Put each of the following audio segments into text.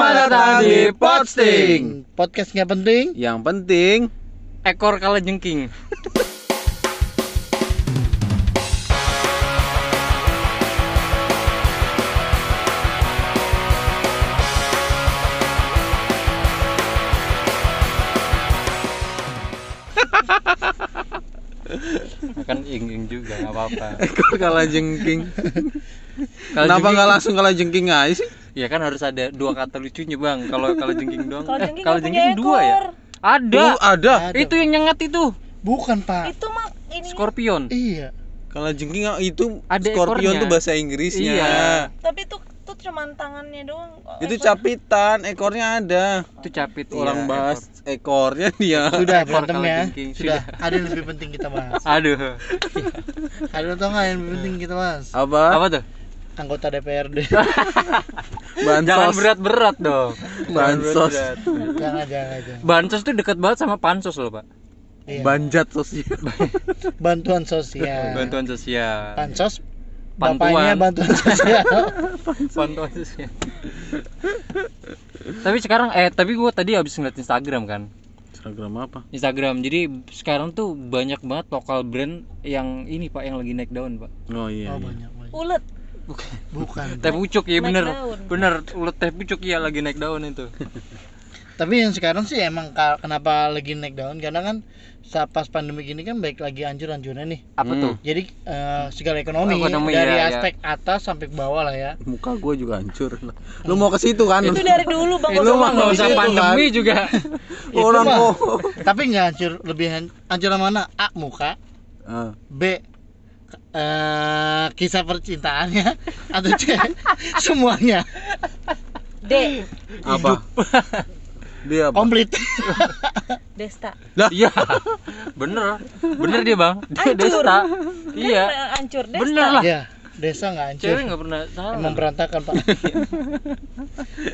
datang di Podsting. Podcast nggak penting. Yang penting Ekor kala jengking. kan ing-ing juga nggak apa-apa. ekor kalah jengking. Kalau Kenapa jengking- nggak langsung kalah jengking aja sih? Ya kan harus ada dua kata lucunya bang. Kalau kalau jengking doang. Kalau Eh, jengking kalau nggak punya jengking dua ya. ekor. Ada. Dulu ada. Ada. Ah, Itu yang nyengat itu. Bukan pak. Itu mah ini. Scorpion. Iya. Kalah jengking itu Ada Scorpion ekornya. tuh bahasa Inggrisnya. Iya. Tapi itu tuh cuman tangannya doang. kok. Itu Ekor- capitan, ekornya ada. Itu capit. iya, Orang bahas ekornya dia. Ekor Sudah berantem kala ya. jengking, Sudah. Ada yang lebih penting kita bahas. ekor. Aduh. Ada yang tau nggak yang lebih penting kita bahas? Apa? Apa tuh? Anggota DPRD. Jangan Bansos. berat-berat dong. Bansos. Berat-berat. jangan jangan aja. Bansos tuh dekat banget sama pansos loh, Pak. Iya. Banjat sosial. Bantuan Iya. sosial. Bantuan sosial. Pansos. Bantuan. Bapaknya bantuan sosial. Oh, Bantuan sosial. tapi sekarang eh tapi gua tadi habis ngeliat Instagram kan. Instagram apa? Instagram. Jadi sekarang tuh banyak banget lokal brand yang ini Pak yang lagi naik daun, Pak. Oh iya. oh iya. banyak banyak. Ulet. Bukan. Teh pucuk ya Naik bener. daun. Bener, ulet teh pucuk ya lagi naik daun itu. Tapi yang sekarang sih emang ka- kenapa lagi naik daun karena kan sa- pas pandemi gini kan baik lagi anjur-anjurnya nih. Apa Hmm. tuh? Jadi eh, segala ekonomi, Ekonomi, dari ya, ya. aspek atas sampai ke bawah lah ya. Muka gue juga hancur. Lu mau ke situ kan? Itu dari dulu bang. Itu Gosong. mah nggak usah itu kan. pandemi juga. Itu Oh, Orang mah. mau. Tapi nggak hancur lebih han- hancur yang mana? A muka, Ah. B eh kisah percintaannya atau C semuanya D. apa dia apa komplit. Desta. Kan Iya. Bener. Bener dia, Bang. Dia Hancur. Desta. Kan Iya. Hancur Desta. Bener lah. ya, desa nggak hancur. Cewek nggak pernah salah. Emang berantakan pak.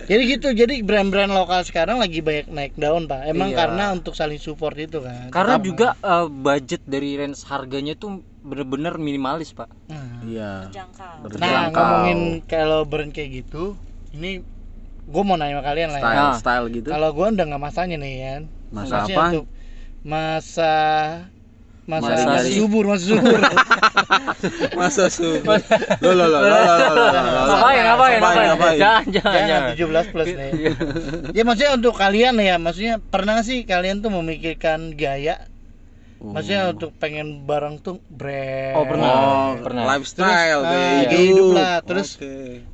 jadi gitu, jadi brand-brand lokal sekarang lagi banyak naik daun pak. Emang Iya. karena untuk saling support itu kan. Karena Sama. juga eh, budget dari range harganya tuh bener-bener minimalis, Pak. Nah, iya Jangkal. Nah terjangkau. ngomongin kalau brand kayak gitu, ini gue mau nanya sama kalian lah ya. style Nah. style gitu Kalau gue udah nggak masanya nih kan. masa Maksudnya apa untuk masa masa Masa masa sih. subur masa subur masa subuh lo lo lo lo lo lo, lo, lo, lo. Ngapain, ngapain, Ngapain, ngapain? ngapain? Jangan, jangan, ya jangan. 17 plus nih ya maksudnya untuk kalian ya maksudnya pernah nggak sih kalian tuh memikirkan gaya maksudnya untuk pengen barang tuh brand Oh, pernah. iya. Hmm. oh Pernah. lifestyle Terus, kayak ah, hidup. gaya hidup lah. Terus, Oke.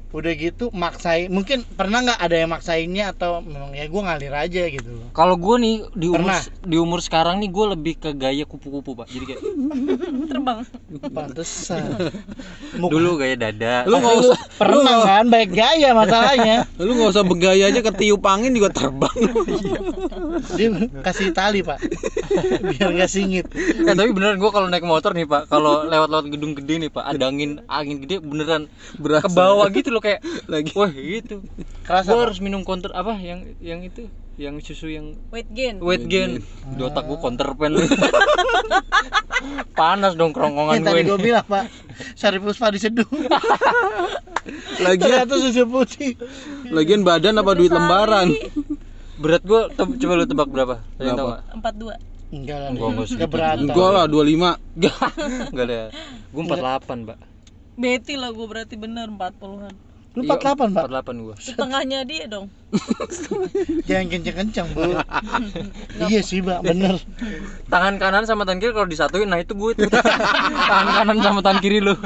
udah gitu maksain mungkin pernah nggak ada yang maksainnya atau memang ya gue ngalir aja gitu loh Kalau gue nih di umur Pernah. di umur sekarang nih gue lebih ke gaya kupu-kupu pak. Jadi kayak Terbang. pantesan dulu gaya dada. lu nggak usah pernah kan baik gaya masalahnya lu nggak usah bergaya aja ketiup angin juga terbang Iya, dia kasih tali pak biar nggak singit Eh, tapi beneran gue kalau naik motor nih pak, kalau lewat-lewat gedung gede nih pak, ada angin angin gede beneran berasa ke bawah gitu loh kayak lagi wah gitu. kerasa Gue Pak. harus minum counter apa yang yang itu yang susu yang Wait gain. weight gain di otak gue counterpen panas dong kerongkongan Yang gue tadi ini. gue bilang pak Sari Puspa diseduh lagian Ternyata susu putih lagian badan apa duit lembaran berat gue coba lu tebak berapa Ada yang tahu Berapa? nggak? Empat dua. Enggak lah Enggak, enggak segitu. Keberatan enggak lah 25 nggak ada gue 48 pak Betty lah gue berarti bener empat puluhan. Lu 48 pak 48 gue Setengahnya dia dong. Jangan kenceng-kenceng bu Iya sih pak bener tangan kanan sama tangan kiri kalau disatuin nah itu gue tuh tangan kanan sama tangan kiri lu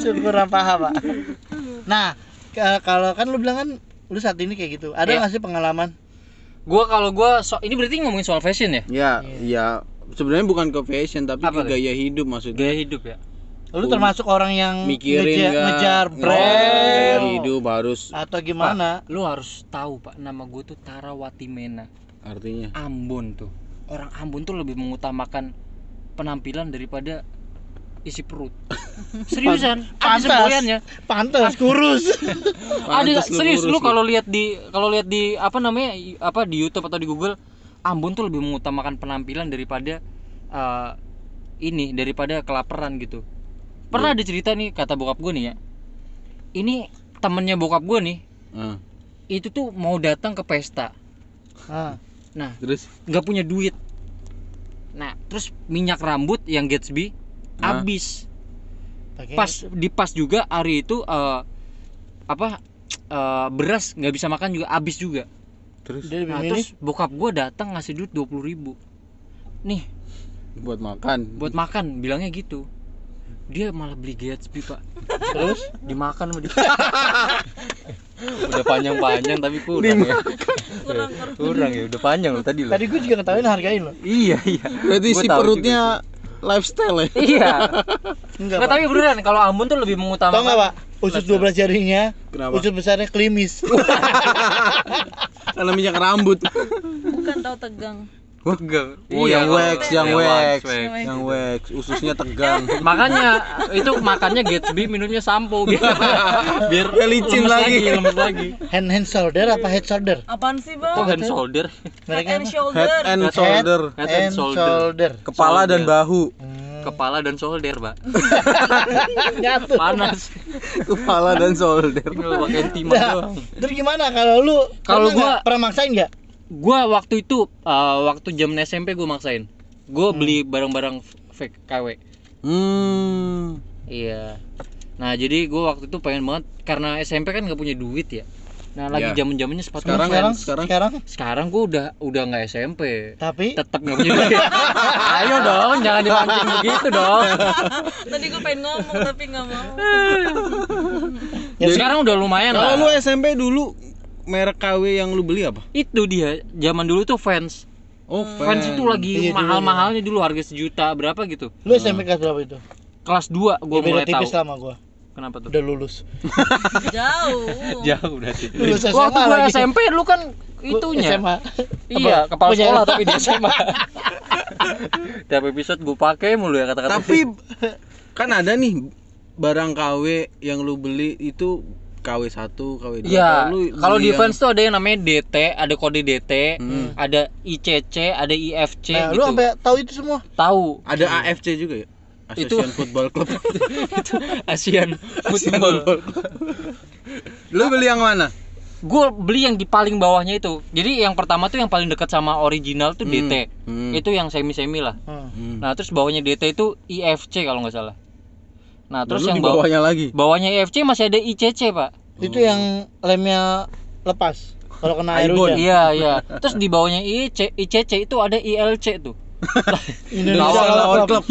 Syukur paham pak Nah ke- kalau kan lu bilang kan Lu saat ini kayak gitu Ada Iya. nggak sih pengalaman gue kalau gue so ini berarti ngomongin soal fashion ya ya ya sebenarnya bukan ke fashion tapi Apa ke tuh? gaya hidup maksudnya gaya hidup ya Lu termasuk orang yang mikirin ngeja- nggak? ngejar Nggak, brand hidup harus Atau gimana lu harus tahu pak nama gue tuh Tarawati Mena artinya Ambon tuh orang Ambon tuh lebih mengutamakan penampilan daripada isi perut seriusan ada semboyannya Pantas Pantas kurus ada Pantes lu serius kurus lu kalau lihat di kalau lihat di apa namanya i- apa di YouTube atau di Google Ambon tuh lebih mengutamakan penampilan daripada eh, ini daripada kelaparan gitu Iya. pernah ada cerita nih kata bokap gue nih ya ini temennya bokap gue nih Ah, itu tuh mau datang ke pesta Ah, nah Terus nggak punya duit nah terus minyak rambut yang Gatsby Hah? habis pakai pas di pas juga Ari itu eh, apa eh, beras nggak bisa makan juga habis juga terus dia lebih nah milih terus bokap gue datang ngasih duit dua ribu nih buat makan. buat makan bilangnya gitu dia malah beli Gatsby pak terus dimakan sama dia udah panjang-panjang tapi kurang ya kurang kurang kurang ya udah panjang lo tadi lo tadi gue juga ngetawain hargain loh iya iya Berarti Gua tahu si juga perutnya lifestyle ya. itu. iya enggak nggak pak tapi beneran kalau Ambon tuh lebih mengutamakan tau nggak pak usus 12 jarinya Kenapa? usus besarnya klimis Karena minyak rambut. bukan tau tegang Enggak. Oh, Iya, yang kalau- wax, yang wax, wax. yang wax, ususnya tegang. makanya itu makannya Gatsby minumnya sampo biar biar Biar licin lemes lagi. lemes lagi hand hand shoulder apa head shoulder apaan sih oh bang hand shoulder head mereka and apa? shoulder Head and Head- shoulder, Head and hand shoulder. shoulder kepala dan shoulder. bahu. Hmm, kepala dan shoulder pak nyatu panas Kepala dan shoulder. tinggal pakai timah Nah, doang terus gimana kalau lu Kalau gua- pernah nggak? pernah maksain nggak gua waktu itu eh, waktu zaman SMP gua maksain gua beli barang-barang f- fake KW Hmm. iya nah jadi gua waktu itu pengen banget karena SMP kan nggak punya duit ya nah lagi Iya. zaman zamannya sepatu Sekarang mahal. sekarang kan, sekarang. sekarang sekarang gua udah udah nggak SMP tapi tetap nggak punya duit ayo dong jangan dipancing begitu dong tadi gue pengen ngomong tapi nggak mau Ya, Jadi sekarang udah lumayan Kalau lah lu SMP dulu merek KW yang lu beli apa? itu dia zaman dulu tuh fans Oh, Hmm. fans itu lagi Iya, dulu mahal-mahalnya dulu harga sejuta berapa gitu lu SMP kelas berapa itu kelas 2 gua ya, beda mulai tahu tipis sama gua kenapa tuh udah lulus jauh jauh berarti lulus SMA waktu gua lagi SMP lu kan itunya SMA iya Apa? kepala Punya- sekolah tapi di SMA tiap episode gua pakai mulu ya kata-kata Tapi kan ada nih barang KW yang lu beli itu KW 1, KW 2. Iya, kalau di fans fans tuh ada yang namanya DT, ada kode DT, Hmm. ada ICC, ada IFC nah, lu gitu. sampai tahu itu semua Tahu ada AFC juga ya? Association Football Club. ASEAN Football. lu beli yang mana? Gue beli yang di paling bawahnya itu. Jadi yang pertama tuh yang paling dekat sama original tuh DT. Hmm. Itu yang semi-semi lah. Hmm. Hmm. Nah, terus bawahnya DT itu IFC kalau nggak salah. Nah, terus Lalu yang di bawah bawahnya lagi. bawahnya IFC masih ada ICC, Pak. itu yang lemnya lepas kalau kena air hujan Aibon. Iya, iya. Terus di bawahnya IC, ICC itu ada ILC tuh. Indonesia Lawan- lawan klub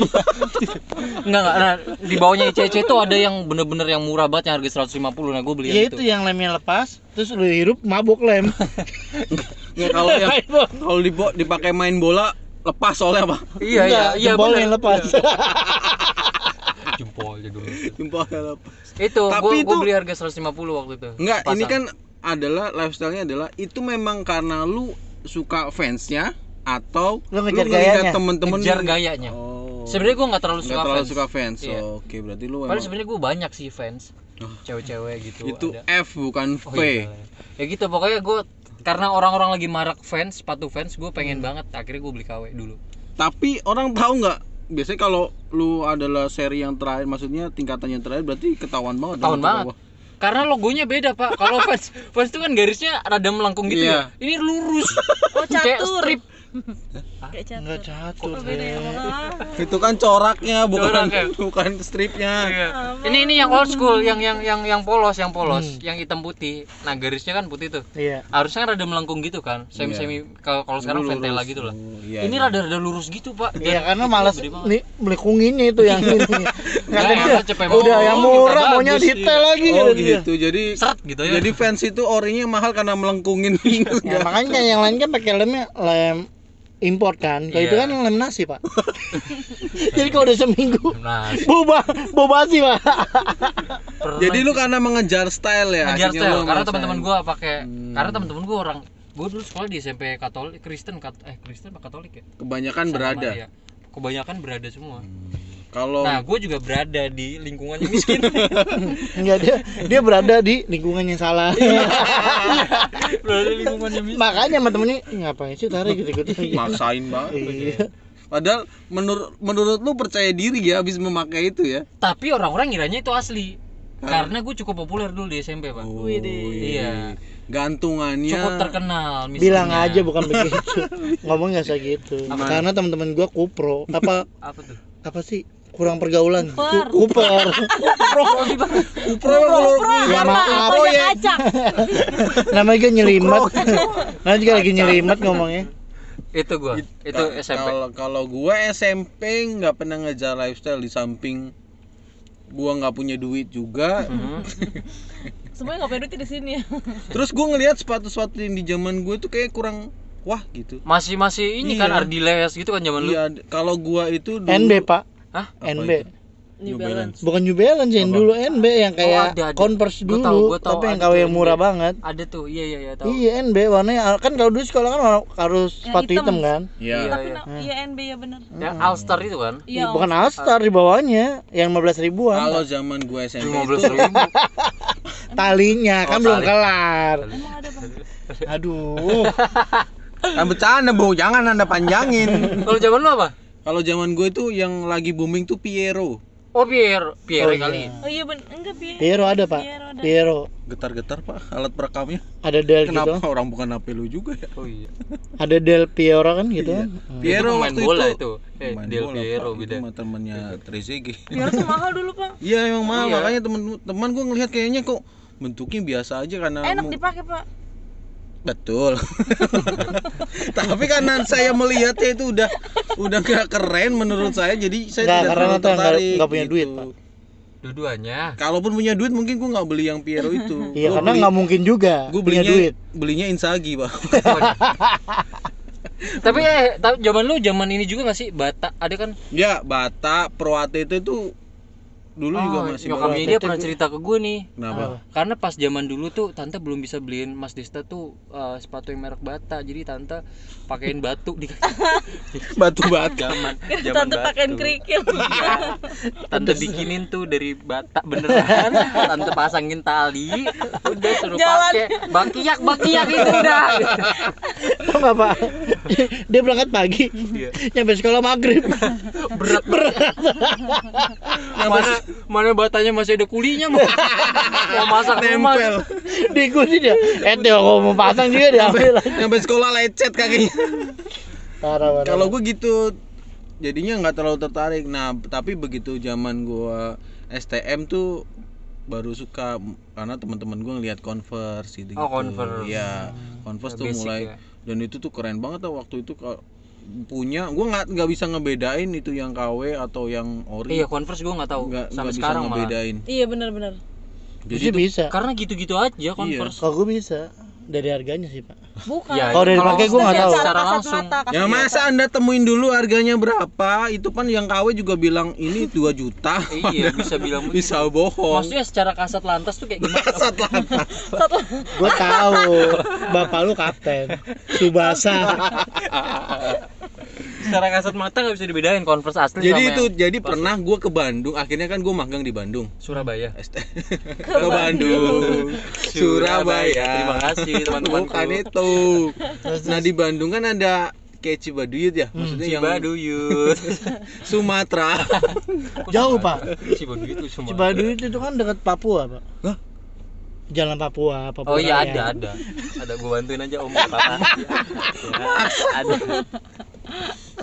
Enggak, enggak. Nah, di bawahnya ICC itu ada yang bener-bener yang murah banget yang harga 150. Nah, gue Iya, beli ya yang itu itu. yang lemnya lepas terus lu hirup mabuk lem Ya, kalau yang kalau di dipakai main bola lepas soalnya apa? Iya, iya, Enggak, iya. jempolnya bener. yang lepas Jempolnya dulu. Jempolnya lepas. Itu, Tapi gue itu- beli harga 150 waktu itu. Enggak, ini Pasang. kan adalah lifestyle-nya adalah itu memang karena lu suka fansnya atau Lu ngejar ngelihat gayanya. temen-temen ngejar lu- gayanya. Oh. Sebenarnya gue nggak terlalu Nggak suka terlalu fans. suka fans. Iya. Oh, Oke, berarti lu Padahal emang sebenarnya gue banyak sih fans, cewek-cewek gitu. Oh. itu ada. F bukan Oh, V. iya. Ya gitu pokoknya gue karena orang-orang lagi marak fans, sepatu fans, gue Hmm. pengen banget. Akhirnya gue beli KW dulu. Tapi orang tahu nggak biasanya kalau lu adalah seri yang terakhir maksudnya tingkatan yang terakhir berarti ketahuan banget Tahun dong, banget. apa-apa. Karena logonya beda pak. Kalau fans, fans itu kan garisnya rada melengkung gitu ya. Iya. Ini lurus. oh Kayak catur strip. kayak enggak catur catur Oh, beda ya Lem. Ah, Itu kan coraknya bukan Coraknya. bukan stripnya. Iya. Ini ini yang old school, yang yang yang yang polos, yang polos, Hmm. yang hitam putih. Nah garisnya kan putih tuh. iya harusnya kan rada melengkung gitu kan semi semi kalau kalau sekarang Dulu ventela Iya. lurus. gitu lah Oh, iya, ini iya. rada rada lurus gitu pak Iya Dan karena itu malas gede banget. nih melekunginnya itu yang ini. Kata Nah, dia, cepet banget. udah yang Oh, murah minta maunya bagus, detail lagi Oh kata dia. gitu. Jadi seret gitu ya Jadi fans itu orinya mahal karena melengkungin Iya. Ya, enggak. makanya kayak yang lain kan pakai lemnya lem impor kan. Kalau itu Iya. kan lem nasi, Pak. Jadi kalau udah seminggu nah boba boba sih, Pak. pernah Jadi lu karena mengejar style ya. ngejar akhirnya style. lu karena ngerasain. Hmm. teman-teman gua pakai karena teman-teman gua orang gua dulu sekolah di SMP Katolik Kristen kat, eh Kristen apa Katolik ya kebanyakan Sama Kan berada. Hmm. Oh. ya. kebanyakan berada semua Kalau nah gua juga berada di lingkungannya miskin Enggak dia dia berada di lingkungan yang salah. Iya. berada di lingkungannya miskin makanya sama temennya "Ih, ngapain sih tarik gitu, gitu-gitu. maksain banget. Iya. Padahal menurut menurut lu percaya diri ya habis memakai itu ya. tapi orang-orang ngiranya itu asli karena gua cukup populer dulu di SMP pak Oh, Widih. Iya. gantungannya cukup terkenal misalnya. bilang aja bukan begitu ngomong nggak usah gitu Apa? karena teman-teman gua kupro apa apa tuh apa sih kurang pergaulan Kuper. Ku- kuper Kupro, kalau- Ya, Apa? maaf. Banyak ya. acak. namanya juga nyelimat namanya juga lagi nyelimat ngomongnya itu gua itu Ka- SMP Kalau kalau gue SMP nggak pernah ngejar lifestyle di samping gue nggak punya duit juga. Hmm. Semuanya nggak punya duit di sini ya. Terus gue ngelihat sepatu-sepatu yang di zaman gue tuh kayak kurang wah gitu. masih masih ini kan Iya. Ardiles gitu kan zaman lu Iya, d- kalau gue itu dulu NB pak Hah? Apa NB itu? New New Balance. Balance. bukan New Balance yang Apa? dulu NB yang kayak Oh, ada, ada. Converse Gua dulu tahu, gua tahu, tapi yang ada kau tuh yang NB. murah banget ada tuh iya iya iya tahu Iya NB warnanya kan kalau dulu sekolah kan war- harus Yang sepatu hitam. hitam, kan? Iya. Tapi na- iya NB ya bener. ya Hmm. Alstar itu kan Iya. Ih, bukan Alstar di bawahnya yang 15 ribuan. Kalau zaman gue SMP lima belas itu ribu Talinya kan Oh, belum tali. kelar. Emang ada bang. Aduh. kan bercanda bu, jangan anda panjangin. kalau zaman lu apa kalau zaman gue itu yang lagi booming tuh Piero, oh Pierre Pierre Oh, iya. kali Oh iya bener. Enggak Piero. Piero ada pak. Piero ada. Piero getar-getar pak alat perekamnya. ada Del gitu. Kenapa orang bukan HP lu juga ya? oh iya Ada Del Piero kan gitu. Iya. kan? Piero itu pemain waktu bola itu, itu, Eh, Main Del bola, Pak. Piero Itu beda mah temannya Trezeguet. Piero tuh mahal dulu bang. Iya emang mahal makanya teman-teman gue ngelihat kayaknya kok bentuknya biasa aja karena Enak mu- dipakai pak. betul. Tapi karena saya melihatnya itu udah udah gak keren menurut saya jadi saya Nggak tidak keren terlalu atau nggak- tertarik gitu. nggak punya duit, Pak. dua-duanya Kalaupun punya duit mungkin gue nggak beli yang Piero itu. Iya karena nggak mungkin juga gue punya belinya duit. belinya Insagi pak. tapi eh tapi zaman lu zaman ini juga nggak sih Bata ada kan ya Bata Perwate itu tuh dulu juga Oh, masih nyokapnya murah. dia pernah cerita ke gue nih Kenapa? karena pas zaman dulu tuh tante belum bisa beliin Mas Desta tuh eh, sepatu yang merek bata jadi tante pakein batu di Batu bata. zaman zaman Tante pakaiin kerikil. tante bikinin tuh dari bata beneran tante pasangin tali udah suruh Jalan. pakai bakiak bakiak itu udah Tau nggak pak? Dia berangkat pagi, Iya. nyampe sekolah maghrib. berat berat mana mana batanya masih ada kulinya mau mau masak rumah Nempel. Diikuti dia. Eh dia kalau mau pasang juga diambil. Sampai sekolah lecet kakinya. Parah parah. kalau gue gitu jadinya nggak terlalu tertarik nah tapi begitu zaman gua STM tuh baru suka m- karena teman-teman gua ngeliat converse gitu Oh, Converse. ya converse tuh Basic mulai ya. dan itu tuh keren banget tuh waktu itu kalau punya gua nggak nggak bisa ngebedain itu yang KW atau yang ori iya converse gue nggak tahu nggak sampai nggak bisa sekarang malah ngebedain Iya bener-bener. jadi Jadi tuh bisa. karena gitu-gitu Iya. aja converse Kalau gue bisa dari harganya sih pak. Bukan. Ya, Kalau udah dipakai gue nggak tahu. Secara Secara langsung. langsung. Mata, kasat Ya mata. masa anda temuin dulu harganya berapa Itu kan yang KW juga bilang ini 2 juta iya bisa bilang begitu. Bisa bohong maksudnya secara kasat lantas tuh kayak gimana Kasat lantas Gue tahu bapak lu kapten Subasa. secara kasat mata nggak bisa dibedain converse asli jadi sama itu yang ya? jadi pernah gue ke Bandung akhirnya kan gue magang di Bandung Surabaya ST ke Bandung Surabaya terima kasih teman-teman bukan itu nah di Bandung kan ada kayak Cibaduyut ya Hmm, maksudnya yang Cibaduyut Sumatera Jauh pak. Cibaduyut itu semua Cibaduyut itu kan dekat Papua pak. Hah? Jalan Papua. oh Papua iya Raya. ada ada ada gua bantuin aja om apa ada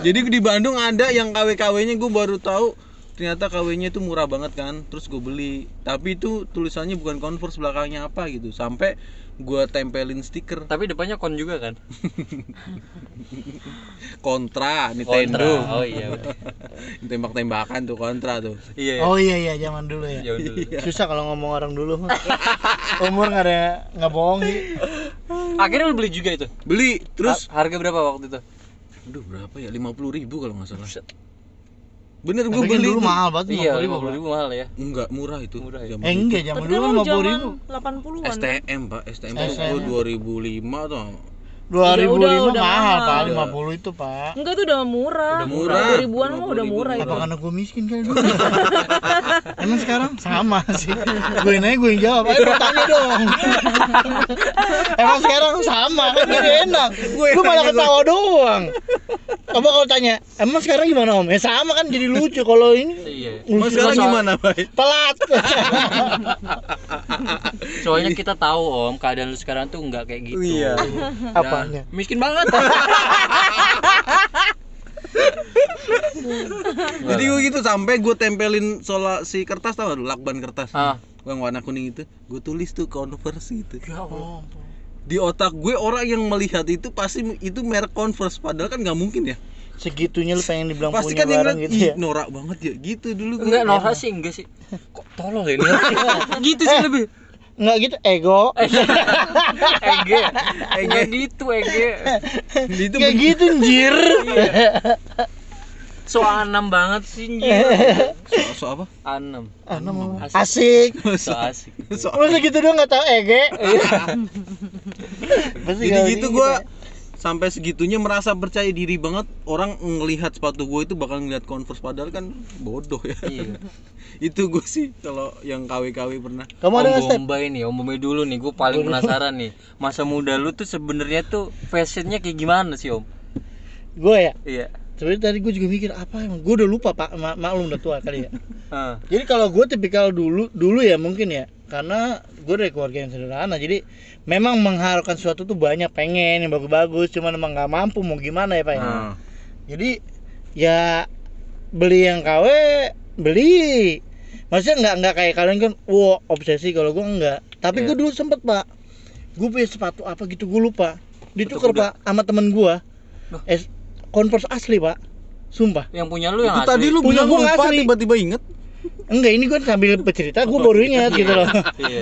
jadi di Bandung ada yang KW KW-nya gue baru tahu ternyata KW-nya itu murah banget kan terus gue beli tapi itu tulisannya bukan converse belakangnya apa gitu sampai gue tempelin stiker tapi depannya kon juga kan kontra kontra Nintendo oh iya betul. tembak-tembakan tuh kontra tuh iya iya. Oh iya iya zaman dulu ya. Jauh dulu. Susah kalau ngomong orang dulu mah. Umur nggak ada nggak bohong sih. akhirnya lu beli juga itu beli terus Ha- harga berapa waktu itu Aduh berapa ya? 50 ribu kalau nggak salah. Bener gue Tapi kan beli dulu tuh. mahal banget iya lima lima puluh ribu, ribu mahal ya Enggak murah itu. Murah ya? Pak. zaman Eh enggak itu. zaman Tapi dulu kan lima puluh zaman ribu. 80-an. STM pak, STM STM. itu 2005 tuh. Dua ribu udah, lima udah mahal mahal. Iya. pak. Lima puluh itu pak. Enggak itu udah murah. Udah murah. 2000-an mah udah murah itu. Apa karena gue miskin kali dulu? Emang sekarang sama sih. Gue nanya gue yang jawab. Ayo dong, tanya dong. Emang sekarang sama kan jadi enak. Gue Lu malah tanya, gue- ketawa doang. Coba kalau tanya, emang sekarang gimana om? Ya sama kan jadi lucu kalau ini Iya. Mas sekarang Masa- gimana, Bay? pelat. Soalnya kita tahu om keadaan lu sekarang tuh nggak kayak gitu. Iya. Dan Apanya? Miskin banget. Jadi gue gitu sampai gue tempelin sola si kertas tau gak lu, lakban kertas. Ah. Yang warna kuning itu, gue tulis tuh Converse itu. Ya Allah. Di otak gue orang yang melihat itu pasti itu merek Converse padahal kan nggak mungkin ya. Segitunya lu pengen dibilang Pasti punya kan yang barang ngeliat, gitu "Ih, ya. norak banget ya gitu dulu gue. Enggak norak sih enggak sih. Kok tolol ya ini? Iya. gitu sih lebih. Enggak gitu, ego. Eh, Ege. Ege. Ege gitu Ege. Itu Kayak gitu anjir. So anem banget sih anjir. soal so apa? Anem. Asik. So asik. So Masa gitu doang nggak tahu ege. Iya. Pasti Jadi kalau ya. gitu ini gua sampai segitunya merasa percaya diri banget orang ngelihat sepatu gue itu bakal ngelihat Converse padahal kan bodoh ya. Iya. itu gue sih kalau yang KW-KW pernah. kita. Kamu Om ada nggak step? Bombay nih, Om Bombay dulu nih, gue paling penasaran nih Masa muda lu tuh sebenarnya tuh fashionnya kayak gimana sih Om? Gue ya. Iya Sebenarnya tadi gue juga mikir apa emang gue udah lupa pak Ma- maklum udah tua kali ya. Ah, Jadi kalau gue tipikal dulu dulu ya mungkin ya karena gue dari keluarga yang sederhana jadi memang mengharapkan sesuatu tuh banyak pengen yang bagus-bagus cuman emang nggak mampu mau gimana ya pak ya. Nah, Jadi ya beli yang KW beli maksudnya nggak nggak kayak kalian kan wow obsesi kalau gue nggak tapi Iya. gue dulu sempet pak gue punya sepatu apa gitu gue lupa ditukar kuda. pak sama temen gue Loh. es converse asli pak sumpah Yang punya lu yang asli Itu tadi lu Nah, Punya bilang gua lupa asli. tiba-tiba inget. enggak ini gue sambil bercerita gue baru ingat gitu loh Iya.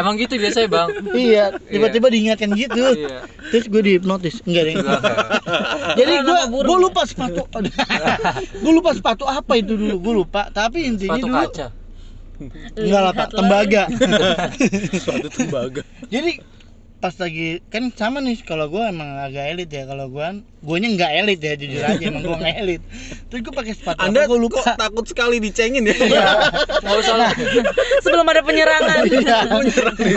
Emang gitu biasanya bang iya tiba-tiba diingatkan gitu Iya terus gue dihipnotis enggak deh jadi gue gue lupa sepatu gue lupa sepatu apa itu dulu gue lupa tapi intinya Sepatu dulu kaca enggak lah pak Lihatlah. tembaga Sepatu tembaga. jadi pas lagi kan sama nih kalau gue emang agak elit ya kalau gue guanya nggak elit ya jujur aja emang gue nggak elit terus gue pakai sepatu apa Anda gue lupa kok takut sekali dicengin ya? Nggak usah lah Sebelum ada penyerangan. Iya.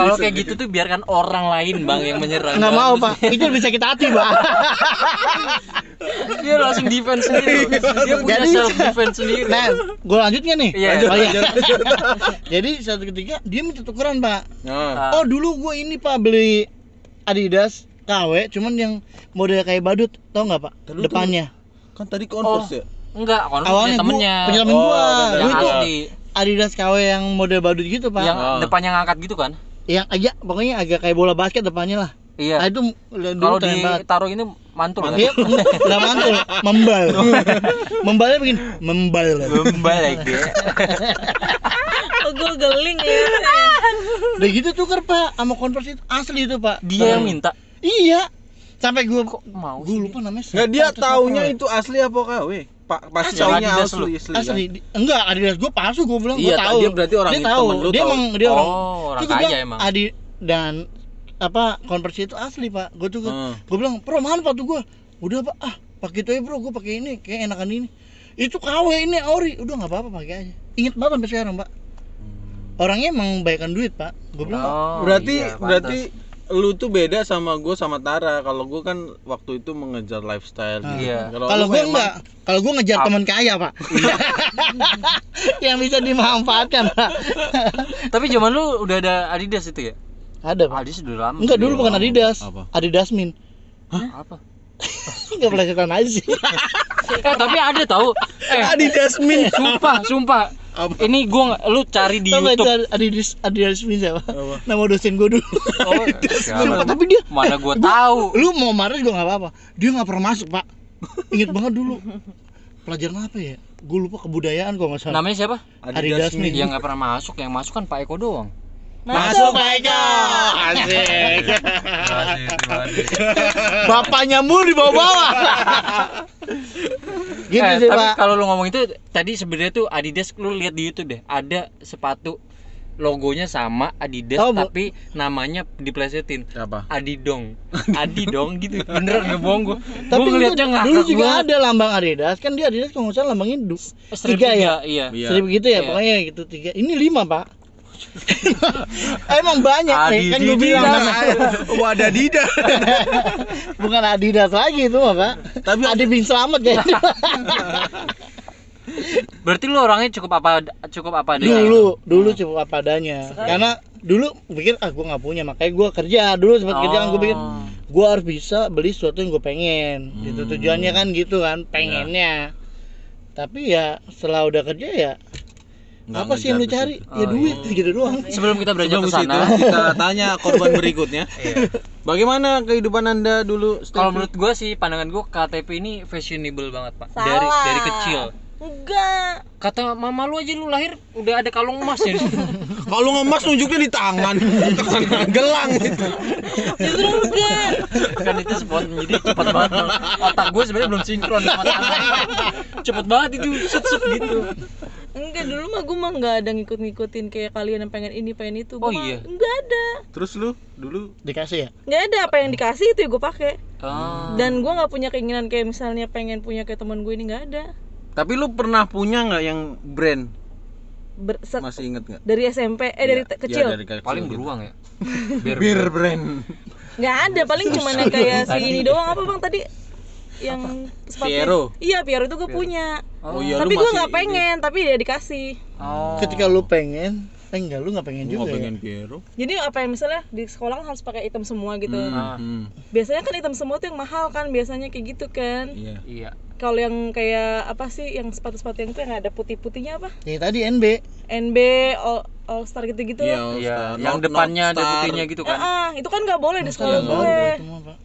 Kalau kayak gitu tuh biarkan orang lain bang yang menyerang nggak Bang. mau pak itu bisa kita hati pak Dia Iya, langsung defense sendiri Dia punya Iya, Jadi- self defense sendiri nah gue lanjut nggak nih Iya, Oh, iya. lanjut, jadi suatu ketika dia minta tukeran pak Ah, Nah, Oh dulu gue ini pak beli Adidas KW cuman yang model kayak badut tau nggak pak Dulu tuh- depannya kan tadi Converse ya? Enggak, kalau punya awalnya gue temennya punya temen Oh, gue ada Yang gue itu asli Adidas KW yang model badut gitu pak Yang yang, Ah. depannya ngangkat gitu kan agak Iya, pokoknya agak kayak bola basket depannya lah nah Iya itu dulu Kalau keren banget ditaruh ini mantul kan Iya, udah mantul, membal. Membalnya begini, membal. Gembal ya, lagi Oh, gue geling ya. Udah gitu tuker pak, sama converse itu asli itu pak. Dia yang minta Iya, sampai gue kok mau gue lupa namanya. Nggak dia siapa, taunya siapa. itu asli apa KW? Pak pas Asli. taunya Adidas lu. asli asli. asli di- enggak Adidas gue palsu gue bilang gue Iya, tahu dia berarti orang dia itu, tahu temen lu dia tahu. emang dia orang Oh, orang Terus gua kaya bilang, emang. Adi dan apa konversi itu asli pak gue tuh Hmm. gue bilang pro mana sepatu gue udah pak ah pakai itu aja bro gue pakai ini kayak enakan ini itu KW ini ori udah nggak apa-apa pakai aja inget banget sampai sekarang pak Hmm. orangnya emang baikan duit pak gue bilang Oh, berarti iya, pantas. berarti lu tuh beda sama gue sama Tara. Kalau gue kan waktu itu mengejar lifestyle. gitu. Iya. kalau lu gue Iya. memang- enggak kalau gue ngejar teman kaya pak yang bisa dimanfaatkan pak Tapi zaman lu udah ada Adidas itu ya? ada pak Adidas udah lama. enggak dulu bukan Adidas Apa? Adidas Min Apa? Enggak pelajaran aja sih. Eh, tapi ada tahu. Eh, Adidas Min. sumpah, sumpah. Apa? Ini gua nggak- lu cari di Tau gak itu YouTube. Adidas Adidas Min siapa? Apa? Nama dosen gue dulu. Oh, Sumpah, sialan. tapi dia Mana gua tahu. lu mau marah juga gak apa-apa. Dia gak pernah masuk, Pak. Ingat banget dulu. Pelajaran apa ya? Gue lupa kebudayaan kok enggak salah. Namanya siapa? Adidas Min. Min. Yang nggak pernah masuk, yang masuk kan Pak Eko doang. Masuk, Pak Eka. Asik. Bapak Bapaknya mulu di bawah-bawah. gitu eh, sih, tapi Pak. kalau lu ngomong itu tadi sebenarnya tuh Adidas lu lihat di YouTube deh, ada sepatu logonya sama Adidas Tahu, Bu. tapi namanya diplesetin. Apa? Adidong. Adidong gitu. Beneran gak bohong gua. Tapi gua ngeliatnya itu ngakak dulu juga banget. ada lambang Adidas, kan dia Adidas kalau nggak salah lambangnya du- Strip tiga ya. Iya. Iya. Seribu gitu Iya. ya, pokoknya gitu tiga. Ini lima pak. Emang banyak nih, kan gue bilang wadah dida bukan Adidas lagi itu mah, Pak. Tapi Adi bin ya. Slamet kayaknya. Berarti lu orangnya cukup apa cukup apa adanya? dulu, dulu cukup apa adanya. Karena dulu pikir ah gue nggak punya, makanya gue kerja dulu sempat kerja kan gue pikir Oh. gue harus bisa beli sesuatu yang gue pengen. Itu Hmm. tujuannya kan gitu kan, pengennya. Tapi ya setelah udah kerja ya apa sih yang lu cari? Ya Oh, duit gitu doang. Sebelum kita beranjak Sebelum ke itu sana, Iya. kita tanya korban berikutnya. Bagaimana kehidupan Anda dulu? Stevie? kalau menurut gua sih pandangan gua KTP ini fashionable banget, Pak. Salah. Dari dari kecil. Enggak. Kata mama lu aja lu lahir udah ada kalung emas ya. kalau ngemas nunjuknya di tangan, Tangan gelang itu. Justru enggak. kan itu spot jadi cepet banget Bang. otak gue sebenarnya belum sinkron sama tangan cepet banget itu set set gitu Enggak dulu mah gue mah enggak ada ngikut-ngikutin kayak kalian yang pengen ini, pengen itu. Oh, Gua mah iya. Enggak ada. Terus lu dulu Dikasih ya? Enggak ada apa yang dikasih itu ya gue pakai. Ah. Dan gue nggak punya keinginan kayak misalnya pengen punya kayak teman gue ini nggak ada. tapi lu pernah punya nggak yang brand? Ber- se- Masih inget nggak? dari SMP eh dari te- kecil Ya, dari kecil paling gitu. beruang ya Bir brand. nggak ada paling cuman yang kayak si ini doang apa bang tadi yang sepatu Piero. iya Piero itu gue punya Oh iya lu tapi gue masih nggak pengen tapi dia dikasih oh Ketika lu pengen, eh enggak lu nggak pengen juga Gua nggak ya? Oh, pengen Piero. jadi apa yang misalnya di sekolah kan harus pakai item semua gitu Hmm, hmm, biasanya kan item semua tuh yang mahal kan biasanya kayak gitu kan Iya. iya kalau yang kayak apa sih yang sepatu-sepatu yang tuh yang ada putih-putihnya apa Ya tadi NB. NB All, All Star gitu-gitu Iya, lah All iya Star. yang North- depannya North ada Star. putihnya gitu kan Ah, itu kan nggak boleh di Masa sekolah yang baru gue itu mah, Pak.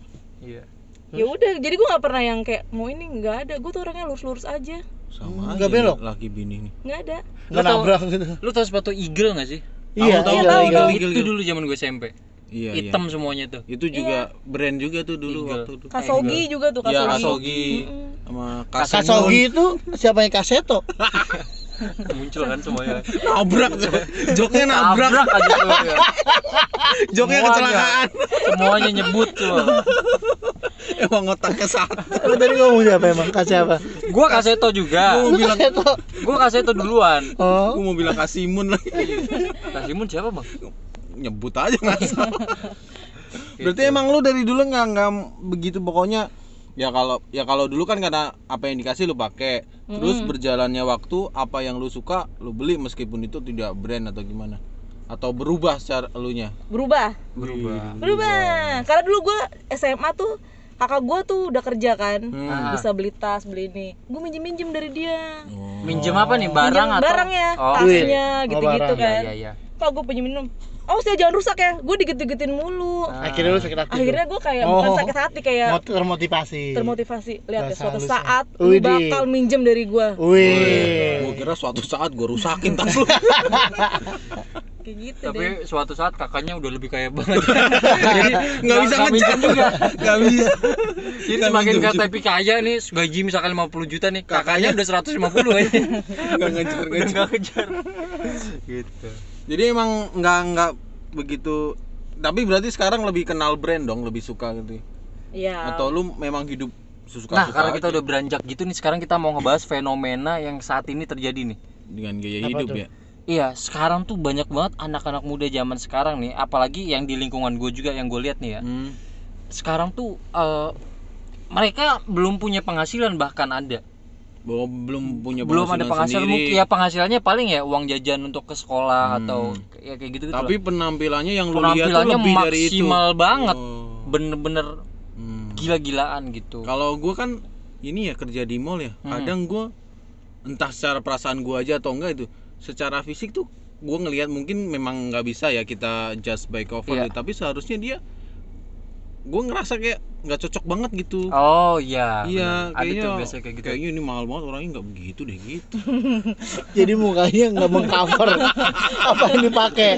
iya ya udah jadi gue nggak pernah yang kayak mau ini nggak ada gue tuh orangnya lurus-lurus aja Sama Hmm, aja nggak belok? nih, Laki bini nih. nggak ada Nggak tau- nabrak gitu. lu tau sepatu eagle gak sih Iya, tahu, iya, tahu, iya. tahu. Eagle, itu eagle. dulu zaman gue SMP Iya, iya. hitam semuanya tuh Itu juga brand juga tuh dulu Eagle. waktu itu. Kasogi juga tuh Iya, Kasogi. Kasogi Mm-mm. sama Kasogi itu siapanya Kaseto? muncul kan semuanya nabrak joknya nabrak nabrak aja tuh ya. joknya Semuanya. kecelakaan semuanya nyebut tuh emang otaknya satu Lu tadi ngomong siapa emang? Kas siapa? gue kaseto juga Gua Lu bilang Kaseto. gue kaseto duluan Oh. gua mau bilang kasimun lagi kasimun siapa bang nyebut aja nggak Iya. salah. berarti Gitu. emang lu dari dulu nggak nggak begitu pokoknya ya kalau ya kalau dulu kan karena apa yang dikasih lu pakai terus Hmm. berjalannya waktu apa yang lu suka lu beli meskipun itu tidak brand atau gimana atau berubah secara elunya berubah Iya. berubah berubah karena dulu gue SMA tuh kakak gue tuh udah kerja kan Hmm. bisa beli tas beli ini gue minjem minjem dari dia Iya. Minjem apa nih minjem barang atau barang ya Oh, tasnya Duit. gitu Oh, Iya barang. gitu kan iya iya. kok gue pinjem minum oh saya jangan rusak ya gue digit gitin mulu Akhirnya lu sakit hati. akhirnya gue kayak bukan Nah, Oh. sakit hati kayak Mot- termotivasi. termotivasi Bahasa lihat ya suatu halusnya. saat lu Widih. bakal minjem dari gue Gua Iya. Wih. kira suatu saat gua rusakin tas lu kayak gitu Tapi deh suatu saat kakaknya udah lebih kaya banget. Jadi nggak bisa minjem ngejar. juga. nggak bisa Jadi Nggak semakin minjem. KTP kaya nih gaji misalkan 50 juta nih, kakaknya udah 150 aja. nggak ngejar udah ngejar enggak kejar. Gitu. jadi emang nggak nggak begitu tapi berarti sekarang lebih kenal brand dong lebih suka gitu ya? ya atau lu memang hidup suka Ah. Nah, karena kita udah beranjak gitu nih, sekarang kita mau ngebahas fenomena yang saat ini terjadi nih. dengan gaya Apa hidup tuh? ya Iya, sekarang tuh banyak banget anak-anak muda zaman sekarang nih, apalagi yang di lingkungan gue juga yang gue lihat nih ya. hmm. Sekarang tuh eh, mereka belum punya penghasilan bahkan ada. Bahwa belum punya belum ada penghasilan mungkin sendiri, Hmm. ya penghasilannya paling ya uang jajan untuk ke sekolah atau ke- ya kayak gitu gitu tapi penampilannya yang lu lihat tuh penampilannya lebih dari itu maksimal banget Oh. bener-bener Hmm. gila-gilaan gitu kalau gua kan ini ya kerja di mall ya Hmm. kadang gua entah secara perasaan gua aja atau enggak itu secara fisik tuh gua ngelihat mungkin memang nggak bisa ya kita just by cover Iya. ya, tapi seharusnya dia gua ngerasa kayak nggak cocok banget gitu oh iya bener. Iya, ada kayaknya tuh biasanya kayak gitu Kayaknya ini mahal banget orangnya nggak begitu deh gitu. Jadi mukanya nggak mengcover apa yang dipakai.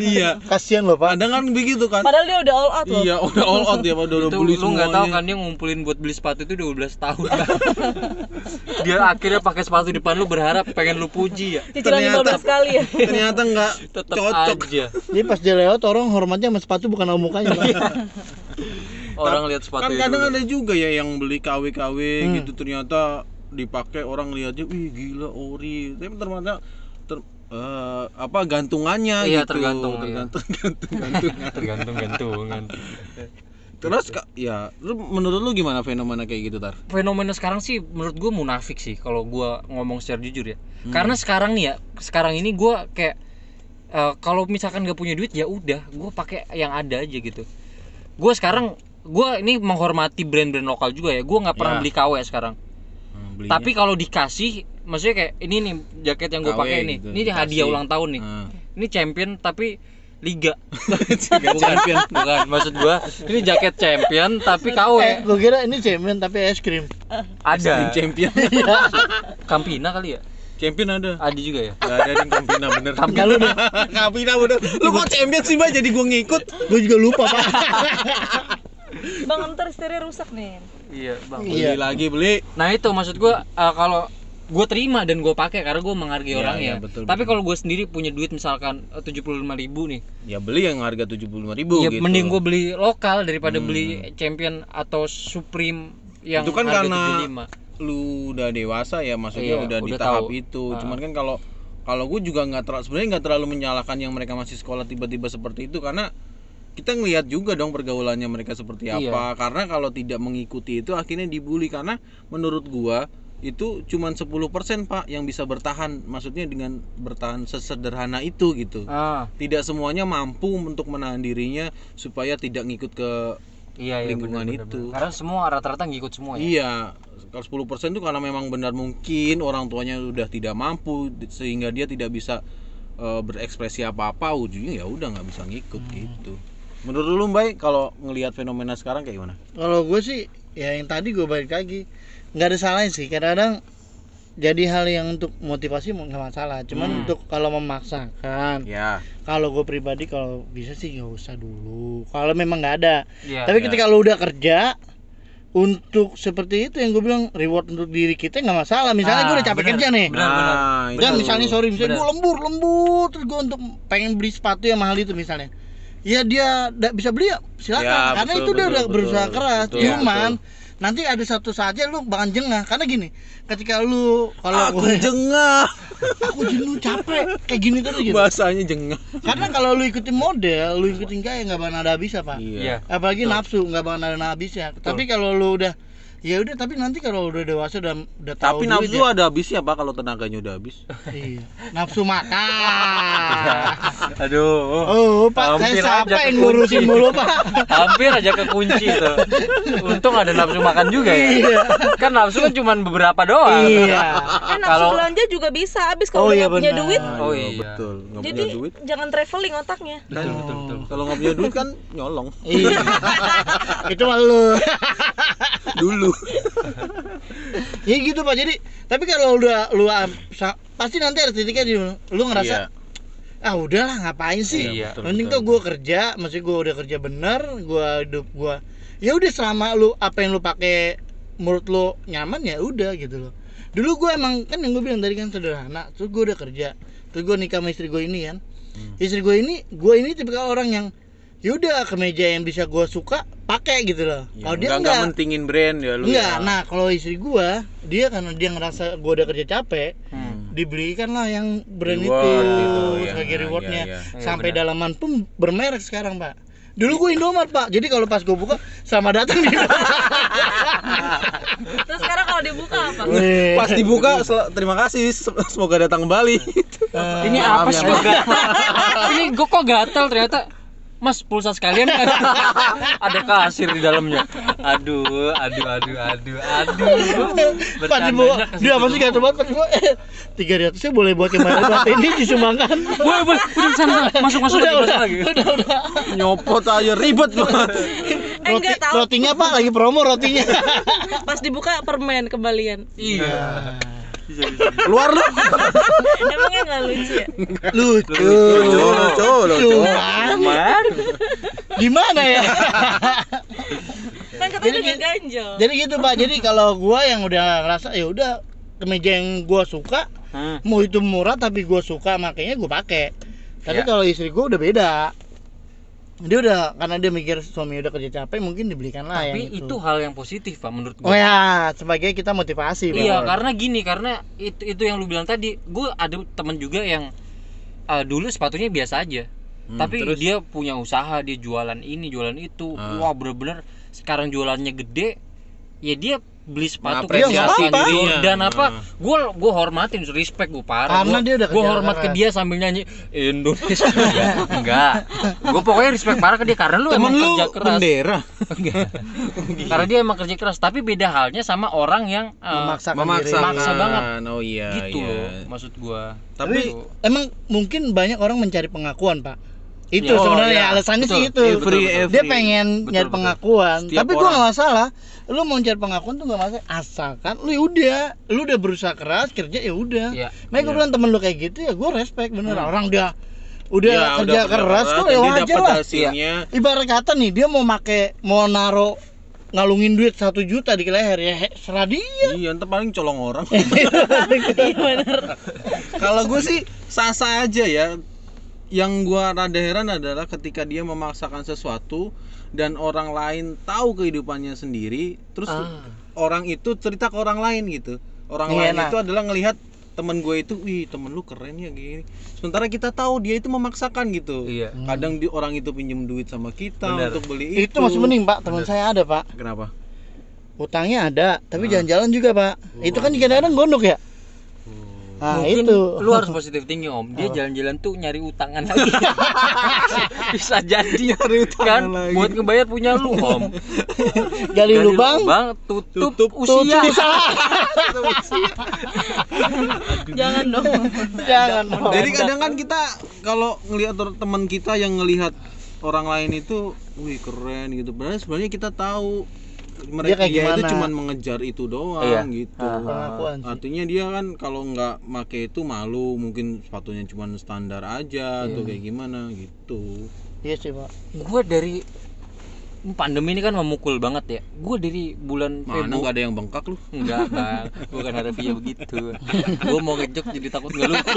iya. Kasihan loh, Pak. Kadang kan begitu kan. padahal dia udah all out loh Iya, udah all out ya, udah udah itu beli lu nggak tahu semuanya. kan dia ngumpulin buat beli sepatu itu 12 tahun dia akhirnya pakai sepatu depan lu berharap pengen lu puji ya cicilan Ternyata- 15 kali ya Ternyata nggak tetap cocok. aja Jadi pas dia lewat orang hormatnya sama sepatu bukan sama mukanya, Pak. orang lihat sepatu Kan kadang ada juga ya yang beli KW-KW gitu ternyata dipakai orang lihatnya, wih gila ori. Tapi ternyata ter- eh, apa gantungannya Iya, gitu tergantung, iya. tergantung gantung gantungan. tergantung gantungan terus ka- ya lu menurut lu gimana fenomena kayak gitu tar fenomena sekarang sih menurut gue munafik sih kalau gue ngomong secara jujur ya Hmm. karena sekarang nih ya sekarang ini gue kayak eh, kalau misalkan gak punya duit ya udah gue pakai yang ada aja gitu gue sekarang gue ini menghormati brand-brand lokal juga ya gue nggak pernah Ya. beli KW sekarang Hmm, belinya. tapi kalau dikasih maksudnya kayak ini nih jaket yang gue KW pakai nih gitu, ini dikasih. hadiah ulang tahun nih Ah. ini champion tapi liga bukan bukan maksud gue ini jaket champion tapi KW gue Eh, kira ini cemen tapi es krim. Tim ada champion Kampina kali ya champion ada ada juga ya Gak ada yang kampina bener Kampina lu deh. Kampina bener Lu kok champion sih mbak jadi gua ngikut Gue juga lupa pak. Bang, ntar setirnya rusak nih. iya bang Beli lagi beli Nah itu maksud gua eh, kalau gue terima dan gue pakai karena gue menghargai Iya, orangnya. iya, betul, Tapi betul. kalau gue sendiri punya duit misalkan eh, tujuh puluh lima ribu nih, Ya beli yang harga 75 ribu ya gitu mending gue beli lokal daripada beli champion atau supreme yang Itu kan harga karena 75. Lu udah dewasa ya maksudnya Iya, udah, di udah tahap tahu. itu Ah. Cuman kan kalau kalau gue juga nggak terlalu sebenarnya nggak terlalu menyalahkan yang mereka masih sekolah tiba-tiba seperti itu karena kita ngelihat juga dong pergaulannya mereka seperti Iya. apa karena kalau tidak mengikuti itu akhirnya dibully karena menurut gua itu cuman 10% Pak yang bisa bertahan maksudnya dengan bertahan sesederhana itu gitu Ah, tidak semuanya mampu untuk menahan dirinya supaya tidak ngikut ke iya iya. Lingkungan benar, benar, itu. benar. Karena semua rata-rata ngikut semua Oh, ya. iya kalau 10% itu karena memang benar mungkin orang tuanya udah tidak mampu di- sehingga dia tidak bisa eh, berekspresi apa-apa ujungnya ya udah nggak bisa ngikut Hmm. gitu menurut lu Mbak kalau ngelihat fenomena sekarang kayak gimana Kalau gue sih ya yang tadi gue balik lagi nggak ada salahnya sih. Kadang-kadang jadi hal yang untuk motivasi mau- nggak masalah. Cuman untuk kalau memaksakan, ya kalau gue pribadi kalau bisa sih nggak usah dulu. Kalau memang nggak ada. Iya. Tapi ya. ketika lo udah kerja untuk seperti itu yang gue bilang reward untuk diri kita nggak masalah. Misalnya gue udah Ah, capek benar. kerja nih. Benar, benar. nah, Dan itu. Kan misalnya sorry, misalnya Benar. gue lembur lembur terus gue untuk pengen beli sepatu yang mahal itu misalnya. Ya dia nggak bisa beli ya silakan Ya, karena betul, itu dia betul, udah betul, berusaha keras. betul, ya, Cuman nanti ada satu saatnya lu bakal jengah karena gini ketika lu kalau aku gue jengah aku jenuh capek kayak gini terus gitu. bahasanya jengah Karena kalau lu ikutin model, lu ikutin gaya nggak bakal ada habisnya pak Iya. apalagi nafsu nggak bakal ada habisnya tapi kalau lu udah ya udah tapi nanti kalau udah dewasa udah udah tahu tapi duit nafsu ya, ada habisnya Pak kalau tenaganya udah habis iya. nafsu makan Aduh. oh pak Hampir aja saya siapa yang kekunci. ngurusin mulu pak Hampir aja kekunci tuh. Untung ada nafsu makan juga ya. kan nafsu kan cuma beberapa doang. iya Kan nafsu Kalau- belanja juga bisa habis kalau Oh, udah iya, nggak punya benar. duit. Oh, Ayo, iya. betul nggak Jadi punya duit jangan traveling otaknya. kan kalau nggak punya duit kan nyolong iya itu mah lu dulu ya gitu pak jadi tapi kalau udah lu am- sa- pasti nanti ada titiknya di lu ngerasa Iya. ah udahlah ngapain sih Iya, betul, mending betul, tuh gue kerja maksudnya gue udah kerja bener gue hidup gue ya udah selama lu apa yang lu pakai menurut lu nyaman ya udah gitu loh dulu gue emang kan yang gue bilang tadi kan sederhana terus gue udah kerja terus gue nikah sama istri gue ini kan Hmm. istri gue ini gue ini tipikal orang yang ya udah kemeja yang bisa gue suka pakai gitu loh Ya, iya. kalau dia nggak- nggak enggak mentingin brand ya lu enggak ya. nah kalau istri gue dia karena dia ngerasa gue udah kerja capek Hmm. dibelikan lah yang brand Reward itu gitu, ya. sebagai Nah, rewardnya iya, iya. sampai Iya, benar. dalaman pun bermerek sekarang pak dulu gue Indomaret pak jadi kalau pas gue buka sama datang di Terus sekarang kalau dibuka apa? pas dibuka sel- terima kasih se- semoga datang kembali Ini Maaf apa ya, sih Mas. kok gatal? Ini gue kok gatal ternyata Mas pulsa sekalian kan ada kasir di dalamnya. Aduh, aduh, aduh, aduh, aduh. pas dibuka dia pasti gak coba pas dibuka eh tiga ratusnya boleh buat yang mana buat ini disumbangkan Boleh, boleh, udah sana, sana. masuk, masuk udah lagi, udah masuk lagi. udah udah nyopot aja ribet banget Eh Roti, enggak tahu. rotinya pak lagi promo rotinya Iya. Pas dibuka permen kembalian. Iya. Bisa, bisa. keluar lu Emangnya nggak lucu ya? lucu lucu lucu lucu cuman Cuman, gimana ya Kan katanya nggak ganjel. jadi gitu pak jadi kalau gua yang udah ngerasa ya udah kemeja yang gua suka Hah, mau itu murah tapi gue suka makanya gue pakai tapi Ya. kalau istri gue udah beda dia udah karena dia mikir suami udah kerja capek mungkin dibelikan lah tapi yang itu hal yang positif pak menurut oh gue. ya sebagai kita motivasi Iya, Bang. karena gini, karena itu itu yang lu bilang tadi, gue ada temen juga yang eh, dulu sepatunya biasa aja Hmm, tapi terus? dia punya usaha dia jualan ini jualan itu Ah. wah bener-bener sekarang jualannya gede ya dia beli sepatu Mengapresiasi dan dirinya. Jordan apa Ah. gue gue hormatin respect gue parah Karena Gua- dia udah gua kerja hormat ke keras. dia sambil nyanyi Indonesia enggak gue pokoknya respect parah ke dia karena lu emang temen lu kerja keras bendera karena dia emang kerja keras tapi beda halnya sama orang yang eh, memaksakan memaksa diri. Maksa banget. oh iya gitu iya. loh maksud gua Tapi- Gitu. Emang mungkin banyak orang mencari pengakuan, Pak. Itu Iya. Oh, sebenarnya iya. alasannya sih Betul. itu. Iya, betul, Every- betul. every- Dia pengen Betul, nyari betul. pengakuan, Setiap tapi gua orang. nggak masalah. Lu mau cari pengakuan tuh nggak masalah, asalkan lu ya udah, lu udah berusaha keras kerja ya udah. Iya. Makanya gue bilang temen lu kayak gitu ya gue respect bener orang dia udah Ya, kerja Hmm. udah keras tuh dan ya dia wajar dapat lah. hasilnya Ibarat kata nih dia mau make mau naro ngalungin duit satu juta di leher ya he, serah dia. Iya, ntar paling colong orang. Kalau gue sih sah-sah aja ya. Yang gua rada heran adalah ketika dia memaksakan sesuatu dan orang lain tahu kehidupannya sendiri, terus Ah. orang itu cerita ke orang lain gitu. Orang Iya, lain nah. itu adalah ngelihat temen gue itu, wih temen lu keren ya gini. Sementara kita tahu dia itu memaksakan gitu. Iya. Kadang di orang itu pinjem duit sama kita Benar. untuk beli itu. Itu masih mending pak teman saya ada pak Kenapa? utangnya ada tapi jalan-jalan juga pak itu kan kadang-kadang gondok ya. Hmm. Nah Mungkin itu lu harus positif thinking om. Dia jalan-jalan tuh nyari utangan lagi. Bisa jadi nyari utangan kan lagi. buat ngebayar punya lu om. Gali gali lubang tutup, Tutup usia. tutup usaha. Jangan dong. jangan Pak. Jadi kadang kan kita kalau ngelihat or- teman kita yang ngelihat orang lain itu, wih keren gitu. Padahal sebenarnya kita tahu mereka kayak dia, itu gimana. cuman mengejar itu doang Iya. gitu. pengakuan sih. Artinya dia kan kalau nggak make itu malu, mungkin sepatunya cuman standar aja atau kayak gimana gitu. Iya sih pak. Gua dari pandemi ini kan memukul banget ya. Gua dari bulan Mana Februari nggak ada yang bengkak lu? Enggak bang, bukan harapnya begitu Gue mau ngejok jadi takut nggak luntur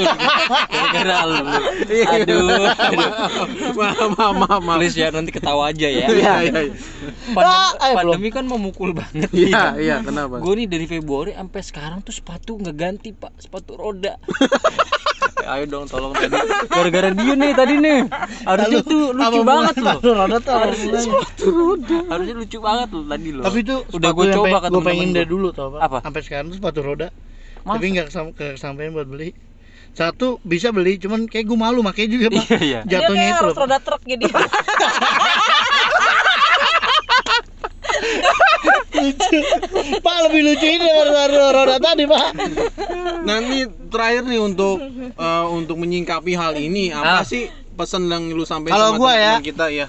Gara-gara lu Aduh, Mama, mama. Please ya nanti ketawa aja ya Iya, iya. iya. Pandem- Ah, eh, belum. Pandemi kan memukul banget Iya, iya, kenapa? Gue nih dari Februari sampai sekarang tuh sepatu nggak ganti pak, sepatu roda. Ayo dong tolong tadi. Gara-gara dia nih tadi nih. Harusnya tuh lucu Apa banget bulan? loh. Aduh, roda tuh apa bulan? Harusnya lucu banget loh tadi loh. Tapi itu udah gue coba kan gue pengen dari dulu tau Apa? Sampai sekarang tuh sepatu roda. Masa? Tapi nggak kesam- nggak kesampaian buat beli. Satu bisa beli, cuman kayak gue malu makanya juga pak. Iya, iya. Dia Jatuhnya kayak itu. harus loh, Pak. roda truk jadi. Pak lebih lucu ini daripada roda tadi pak. Nanti Nah, terakhir nih untuk eh, untuk menyingkapi hal ini apa Ah. sih pesan yang lu sampaikan Kalau sama gua ya. teman kita ya?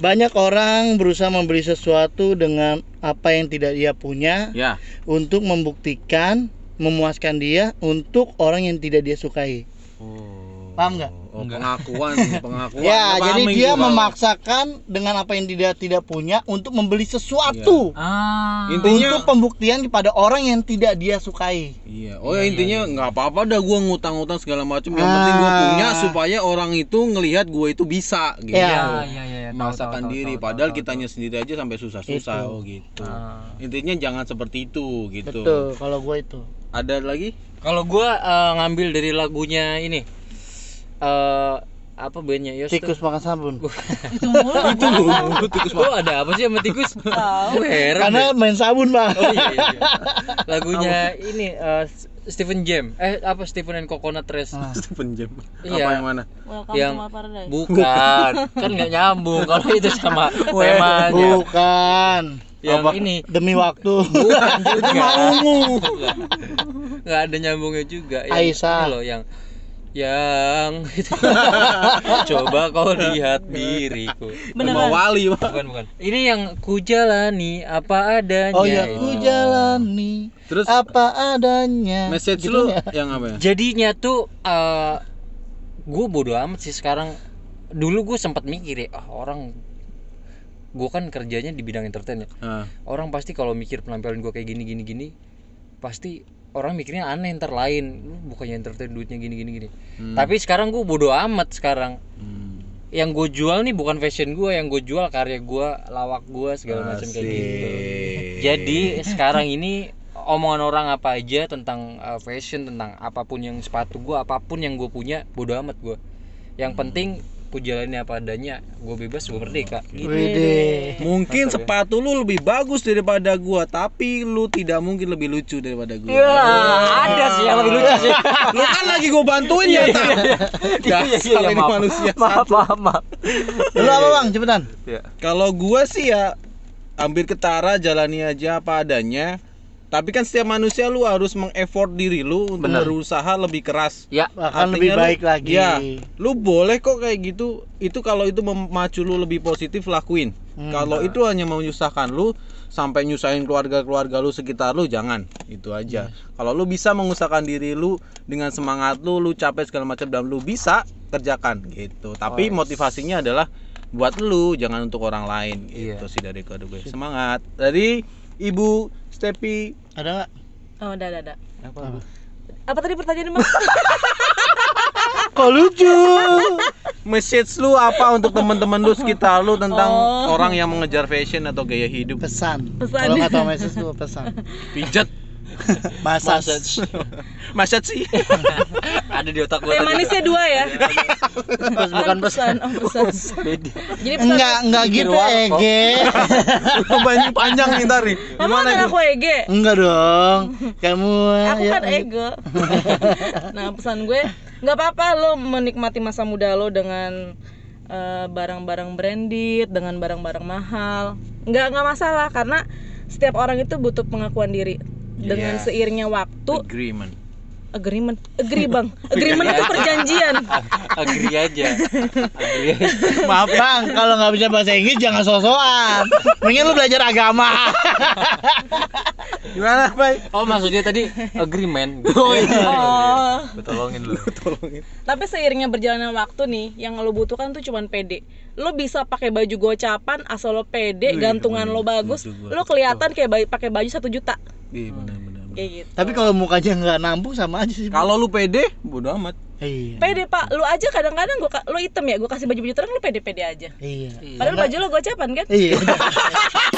Banyak orang berusaha membeli sesuatu dengan apa yang tidak dia punya Ya. untuk membuktikan memuaskan dia untuk orang yang tidak dia sukai. Oh. Paham nggak? Oh, pengakuan, pengakuan. Ya, Paham jadi yang dia gua paham. memaksakan dengan apa yang tidak tidak punya untuk membeli sesuatu. Ah. Intinya Untuk pembuktian kepada orang yang tidak dia sukai. Iya. Oh ya intinya nggak apa-apa dah gua ngutang-ngutang segala macam. Yang penting gua Ah. punya supaya orang itu ngelihat gua itu bisa gitu. Ya. Ya, ya, ya, ya. Tahu, Memaksakan tahu, tahu, diri tahu, padahal tahu, kitanya sendiri aja sampai susah-susah Itu. oh gitu. Ah. Intinya jangan seperti itu gitu. Betul, kalau gue itu. Ada lagi? Kalau gua eh, ngambil dari lagunya ini. Eh apa bandnya Yos? tuh? Tikus makan sabun. Itu mulu. itu lu tikus oh ada apa sih sama tikus gue heran deh. Karena main sabun, Pak. oh, iya, iya. lagunya ini eh, Stephen Jam eh apa Stephen and Coconut Trees Penjem. Iya. Apa yang mana? Welcome Yang- to my paradise. bukan kan nggak nyambung kalau itu sama temanya Bukan. yang Apa? ini Demi waktu. bukan juga Bukan. nggak ada nyambungnya juga yang, Aisyah. ini loh yang yang coba kau lihat diriku Sama Beneran. wali, Pak. bukan bukan ini yang kujalani apa adanya Oh ya, itu. ku jalani Terus apa adanya. message Gitu lu ya? yang apa ya? jadinya tuh eh gue bodo amat sih sekarang dulu gue sempat mikir ya ah, orang gue kan kerjanya di bidang entertain ya Ah. orang pasti kalau mikir penampilan gue kayak gini gini gini pasti orang mikirnya aneh ntar lain lu bukannya entertain duitnya gini gini gini Hmm. tapi sekarang gue bodo amat sekarang Hmm. yang gue jual nih bukan fashion gue yang gue jual karya gue lawak gue segala macam kayak gitu Asik. jadi sekarang ini omongan orang apa aja tentang uh, fashion tentang apapun yang sepatu gua apapun yang gue punya bodo amat gua yang penting ku jalani apa adanya gue bebas gue merdeka gitu. Wede. Mungkin sepatu lu lebih bagus daripada gua, tapi lu tidak mungkin lebih lucu daripada gua. Iya. Ah, ada sih yang lebih lucu sih Lu kan lagi gua bantuin ya, Tam. Dasar ini manusia. Iya, maaf maaf maaf Lu apa bang? Cepetan. ya Kalau gua sih ya hampir ketara jalani aja apa adanya. Tapi kan setiap manusia lu harus mengeffort diri lu untuk berusaha lebih keras. ya Bahkan Artinya lebih lu- baik lagi. Ya, lu boleh kok kayak gitu. Itu kalau itu memacu lu lebih positif lakuin. Hmm. Kalau itu hanya menyusahkan lu sampai nyusahin keluarga-keluarga lu sekitar lu jangan. Itu Hmm. aja. Kalau lu bisa mengusahakan diri lu dengan semangat lu, lu capek segala macam dan lu bisa kerjakan gitu. Tapi motivasinya adalah buat lu, jangan untuk orang lain. Iya. Itu sih dari kode gue. Semangat. Dari Ibu Stepi Ada nggak? Oh, udah, udah, udah. apa Apa tadi pertanyaannya, Mas? Kok lucu? message lu apa untuk teman-teman lu sekitar lu tentang Oh. orang yang mengejar fashion atau gaya hidup Pesan. Pesan. Kalau nggak tahu message lu pesan. pijat Massage. masa sih ada di otak gue Teh manisnya dua ya? Iya. bukan pesan Oh, pesan. beda Jadi pesan. Enggak, enggak Pikir gitu, warkop. Ege. banyak panjang nih tari Mama gimana kan Ibu? aku EG. Enggak dong. Kamu Aku ya, kan ego. nah, pesan gue nggak apa-apa lo menikmati masa muda lo dengan eh, barang-barang branded, dengan barang-barang mahal. Nggak nggak masalah karena setiap orang itu butuh pengakuan diri. Dengan Iya. Yes. seiringnya waktu, agreement agreement, agree bang, agreement itu perjanjian. Iya. agree aja agree aja Maaf bang, kalau nggak bisa bahasa Inggris jangan sosokan. Mendingan lu belajar agama. gimana baik Oh maksudnya tadi agreement. Oh Oh, Tolongin lu. tolongin tapi seiringnya berjalannya waktu nih, yang lo butuhkan tuh cuman pede. Lo bisa pakai baju gocapan asal lo pede, gantungan lo bagus, butuh gua. lo kelihatan kayak bayi- pakai baju satu juta iya benar benar benar. kayak gitu. Tapi kalau mukanya nggak nampung sama aja sih. Bang. kalau lu pede bodo amat Iya. Pede pak, lo aja kadang-kadang gua ka- lo item ya, gue kasih baju baju terang lo pede-pede aja. Iya. Padahal baju lo gocapan kan? Iya.